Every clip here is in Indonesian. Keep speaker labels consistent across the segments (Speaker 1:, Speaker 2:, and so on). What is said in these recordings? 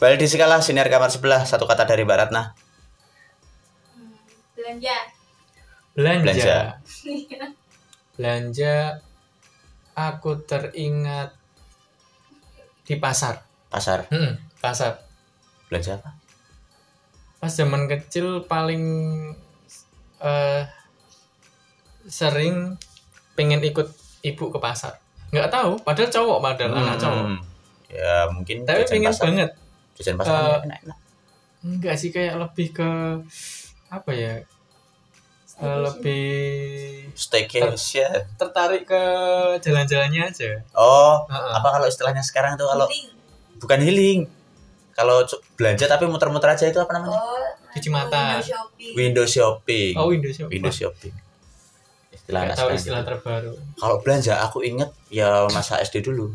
Speaker 1: Baldi Sikala, senior kamar sebelah, satu kata dari Mbak Ratna.
Speaker 2: belanja
Speaker 3: Belanja.
Speaker 1: Belanja.
Speaker 3: Belanja. Aku teringat di pasar.
Speaker 1: Pasar,
Speaker 3: Hmm, pasar.
Speaker 1: belanja apa?
Speaker 3: Pas zaman kecil paling eh, sering pengen ikut ibu ke pasar. Nggak tahu, padahal cowok, padahal anak cowok.
Speaker 1: Hmm. Ya mungkin
Speaker 3: Tapi
Speaker 1: jajan
Speaker 3: pengen
Speaker 1: pasar.
Speaker 3: banget.
Speaker 1: Jajan pasar
Speaker 3: Eh,
Speaker 1: enak, enak.
Speaker 3: Enggak sih kayak lebih ke apa ya? eh, lebih eh.
Speaker 1: Staycation.
Speaker 3: tertarik ke jalan-jalannya aja.
Speaker 1: Oh,
Speaker 3: Heeh.
Speaker 1: apa kalau istilahnya sekarang tuh kalau
Speaker 2: Healing.
Speaker 1: bukan healing. Kalau cu- belanja tapi muter-muter aja itu apa namanya?
Speaker 2: oh
Speaker 3: Cuci
Speaker 2: window
Speaker 3: mata.
Speaker 2: shopping
Speaker 1: Window shopping.
Speaker 3: Oh, Windows ya.
Speaker 1: Window shopping. Istilah
Speaker 3: Nggak
Speaker 1: anak
Speaker 3: tahu
Speaker 1: sekarang
Speaker 3: istilah
Speaker 1: gitu.
Speaker 3: terbaru.
Speaker 1: Kalau belanja aku inget ya masa SD dulu.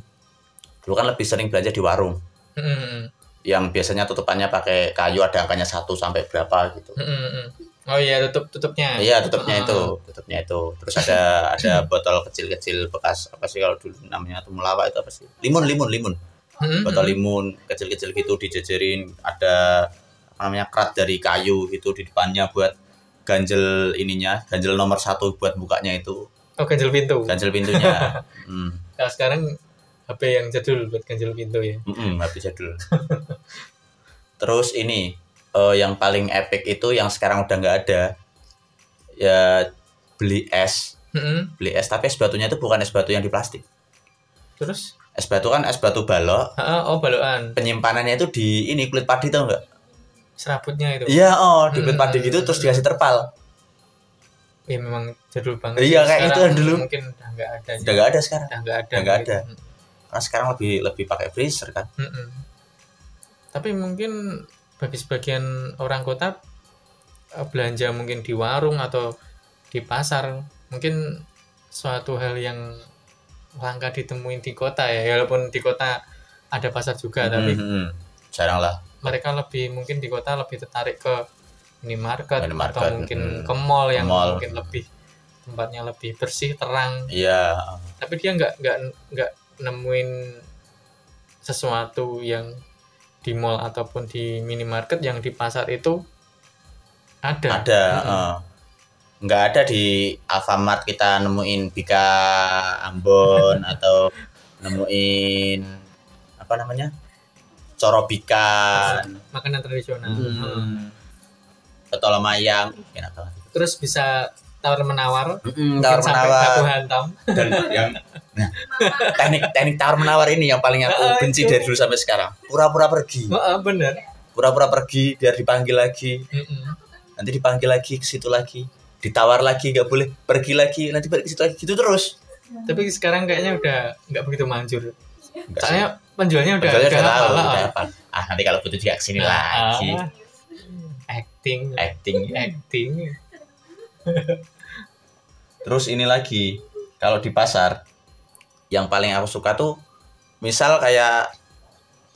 Speaker 1: Dulu kan lebih sering belanja di warung
Speaker 3: Mm-mm.
Speaker 1: yang biasanya tutupannya pakai kayu ada angkanya satu sampai berapa gitu.
Speaker 3: Mm-mm. Oh iya tutup tutupnya.
Speaker 1: Iya, tutupnya
Speaker 3: Ah.
Speaker 1: itu, tutupnya itu. Terus ada ada botol kecil-kecil bekas apa sih kalau dulu namanya tuh melawak itu apa sih? Limun, limun, limun.
Speaker 3: Mm-mm.
Speaker 1: Botol limun kecil-kecil gitu dijejerin, ada apa namanya kerat dari kayu gitu di depannya buat ganjel ininya, ganjel nomor satu buat bukanya itu,
Speaker 3: Oh ganjel pintu.
Speaker 1: ganjel pintunya. hmm.
Speaker 3: Nah, sekarang HP yang jadul buat ganjel pintu ya.
Speaker 1: Mm-mm, HP jadul. Terus ini eh, yang paling epic itu yang sekarang udah nggak ada. Ya beli es,
Speaker 3: Mm-mm.
Speaker 1: beli es tapi es batunya itu bukan es batu yang di plastik.
Speaker 3: Terus
Speaker 1: Es batu kan es batu balok,
Speaker 3: Ah, ah, oh balokan
Speaker 1: penyimpanannya itu di ini kulit padi tau nggak?
Speaker 3: serabutnya itu.
Speaker 1: Iya, oh, di kulit
Speaker 3: Mm-mm.
Speaker 1: padi gitu terus dikasih terpal.
Speaker 3: Ya, memang jadul banget.
Speaker 1: Iya,
Speaker 3: sih.
Speaker 1: kayak
Speaker 3: Sekarang
Speaker 1: ituan dulu.
Speaker 3: Mungkin udah nggak ada.
Speaker 1: Udah nggak ada sekarang.
Speaker 3: Udah nggak ada.
Speaker 1: Udah
Speaker 3: gitu.
Speaker 1: nggak
Speaker 3: mungkin.
Speaker 1: ada. Karena sekarang lebih lebih pakai freezer kan.
Speaker 3: Mm-mm. Tapi mungkin bagi sebagian orang kota eh, belanja mungkin di warung atau di pasar mungkin suatu hal yang langka ditemuin di kota ya walaupun di kota ada pasar juga tapi
Speaker 1: Mm-mm. Hmm, Jarang lah.
Speaker 3: mereka lebih mungkin di kota lebih tertarik ke minimarket,
Speaker 1: Minimarket,
Speaker 3: atau mungkin
Speaker 1: mm.
Speaker 3: ke mall
Speaker 1: Ke
Speaker 3: yang
Speaker 1: mall.
Speaker 3: mungkin lebih tempatnya lebih bersih terang
Speaker 1: Iya.
Speaker 3: tapi dia nggak nggak nggak nemuin sesuatu yang di mall ataupun di minimarket yang di pasar itu ada
Speaker 1: ada
Speaker 3: Mm-mm.
Speaker 1: eh. nggak ada di Alfamart kita nemuin Bika Ambon atau nemuin apa namanya corobikan
Speaker 3: makanan tradisional Hmm.
Speaker 1: hmm. petol mayang enak banget
Speaker 3: terus bisa tawar menawar
Speaker 1: tawar
Speaker 3: mungkin sampai
Speaker 1: menawar
Speaker 3: baku hantam
Speaker 1: dan yang nah, teknik teknik tawar menawar ini yang paling
Speaker 3: Ah,
Speaker 1: aku benci
Speaker 3: itu.
Speaker 1: dari dulu sampai sekarang pura-pura pergi
Speaker 3: Heeh, bener
Speaker 1: pura-pura pergi biar dipanggil lagi
Speaker 3: Mm-mm.
Speaker 1: nanti dipanggil lagi ke situ lagi ditawar lagi nggak boleh pergi lagi nanti balik ke situ lagi gitu terus
Speaker 3: tapi sekarang kayaknya udah nggak begitu manjur
Speaker 1: Nggak sih.
Speaker 3: soalnya penjualnya udah
Speaker 1: Padahal udah
Speaker 3: udah
Speaker 1: tahu,
Speaker 3: hafal,
Speaker 1: udah
Speaker 3: ah.
Speaker 1: hafal. ah nanti kalau butuh juga kesini
Speaker 3: Nah,
Speaker 1: lagi
Speaker 3: ah. acting
Speaker 1: acting
Speaker 3: acting
Speaker 1: terus ini lagi kalau di pasar yang paling aku suka tuh misal kayak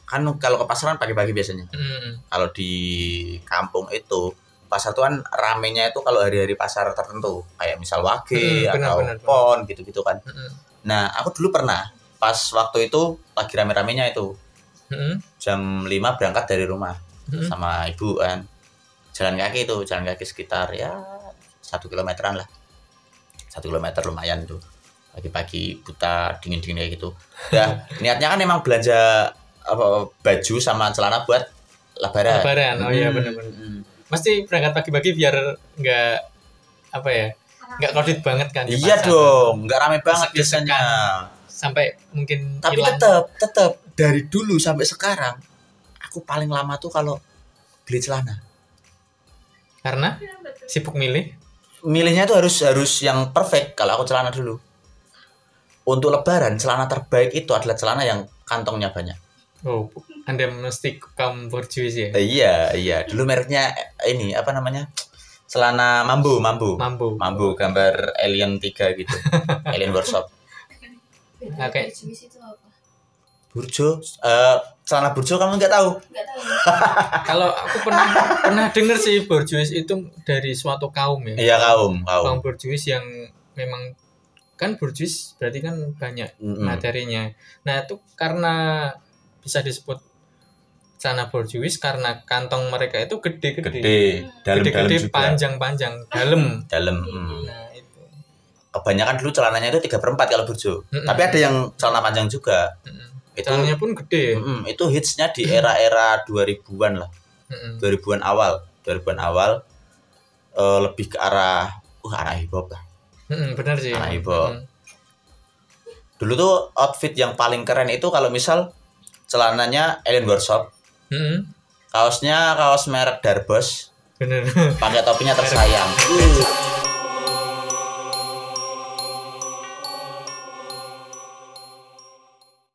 Speaker 1: kan kalau ke pasaran pagi-pagi biasanya
Speaker 3: Mm.
Speaker 1: kalau di kampung itu pasar tuh kan ramenya itu kalau hari-hari pasar tertentu kayak misal wage
Speaker 3: Hmm, benar,
Speaker 1: atau
Speaker 3: benar, benar.
Speaker 1: pon gitu-gitu kan
Speaker 3: Mm-mm.
Speaker 1: nah aku dulu pernah pas waktu itu lagi rame-ramenya itu
Speaker 3: Mm-mm.
Speaker 1: jam 5 berangkat dari rumah
Speaker 3: Mm-mm.
Speaker 1: sama ibu kan jalan kaki itu jalan kaki sekitar ya satu kilometeran lah satu kilometer lumayan tuh pagi-pagi buta dingin dingin kayak gitu ya niatnya kan emang belanja apa baju sama celana buat lebaran
Speaker 3: lebaran oh iya
Speaker 1: Hmm,
Speaker 3: benar-benar
Speaker 1: hmm.
Speaker 3: mesti berangkat pagi-pagi biar nggak apa ya nggak crowded banget kan di
Speaker 1: iya
Speaker 3: pasar.
Speaker 1: dong nggak rame banget
Speaker 3: Desek-desekan.
Speaker 1: biasanya
Speaker 3: sampai mungkin
Speaker 1: tapi
Speaker 3: hilang
Speaker 1: tetap tetap dari dulu sampai sekarang aku paling lama tuh kalau beli celana
Speaker 3: karena sibuk milih
Speaker 1: milihnya itu harus harus yang perfect kalau aku celana dulu untuk lebaran celana terbaik itu adalah celana yang kantongnya banyak
Speaker 3: oh anda mesti kaum borjuis ya
Speaker 1: iya iya dulu mereknya eh, ini apa namanya celana mambu mambu
Speaker 3: mampu
Speaker 1: mambu gambar alien 3 gitu alien workshop
Speaker 2: Beda
Speaker 3: Nah, kayak-
Speaker 2: jenis itu apa
Speaker 1: burjo eh, celana burjo kamu nggak tahu
Speaker 2: nggak tahu
Speaker 3: kalau aku pernah pernah dengar sih borjuis itu dari suatu kaum ya
Speaker 1: iya kaum
Speaker 3: kaum
Speaker 1: kaum
Speaker 3: borjuis yang memang kan borjuis berarti kan banyak
Speaker 1: Hmm. Nah, Mm-mm.
Speaker 3: materinya nah itu karena bisa disebut celana borjuis karena kantong mereka itu gede-gede.
Speaker 2: gede dalam-dalam
Speaker 3: Gede-gede,
Speaker 2: juga
Speaker 3: panjang-panjang, dalam.
Speaker 1: dalam hmm.
Speaker 3: Nah, itu.
Speaker 1: kebanyakan dulu celananya itu tiga perempat kalau burjo
Speaker 3: Mm-mm.
Speaker 1: tapi ada yang celana panjang juga
Speaker 3: Mm-mm.
Speaker 1: itu
Speaker 3: Celananya pun gede.
Speaker 1: mm, itu hitsnya di era-era 2000-an lah
Speaker 2: Hmm.
Speaker 3: Mm-mm.
Speaker 1: 2000-an awal 2000-an awal eh, lebih ke arah uh anak hip hop lah
Speaker 3: Mm-mm, benar sih.
Speaker 2: Nah,
Speaker 1: Anak
Speaker 2: iya,
Speaker 1: ibu.
Speaker 3: Mm-mm.
Speaker 1: dulu tuh outfit yang paling keren itu kalau misal celananya Alien Workshop
Speaker 3: Mm-mm.
Speaker 1: kaosnya kaos merek Darbos
Speaker 3: Benar.
Speaker 1: pakai topinya tersayang uh,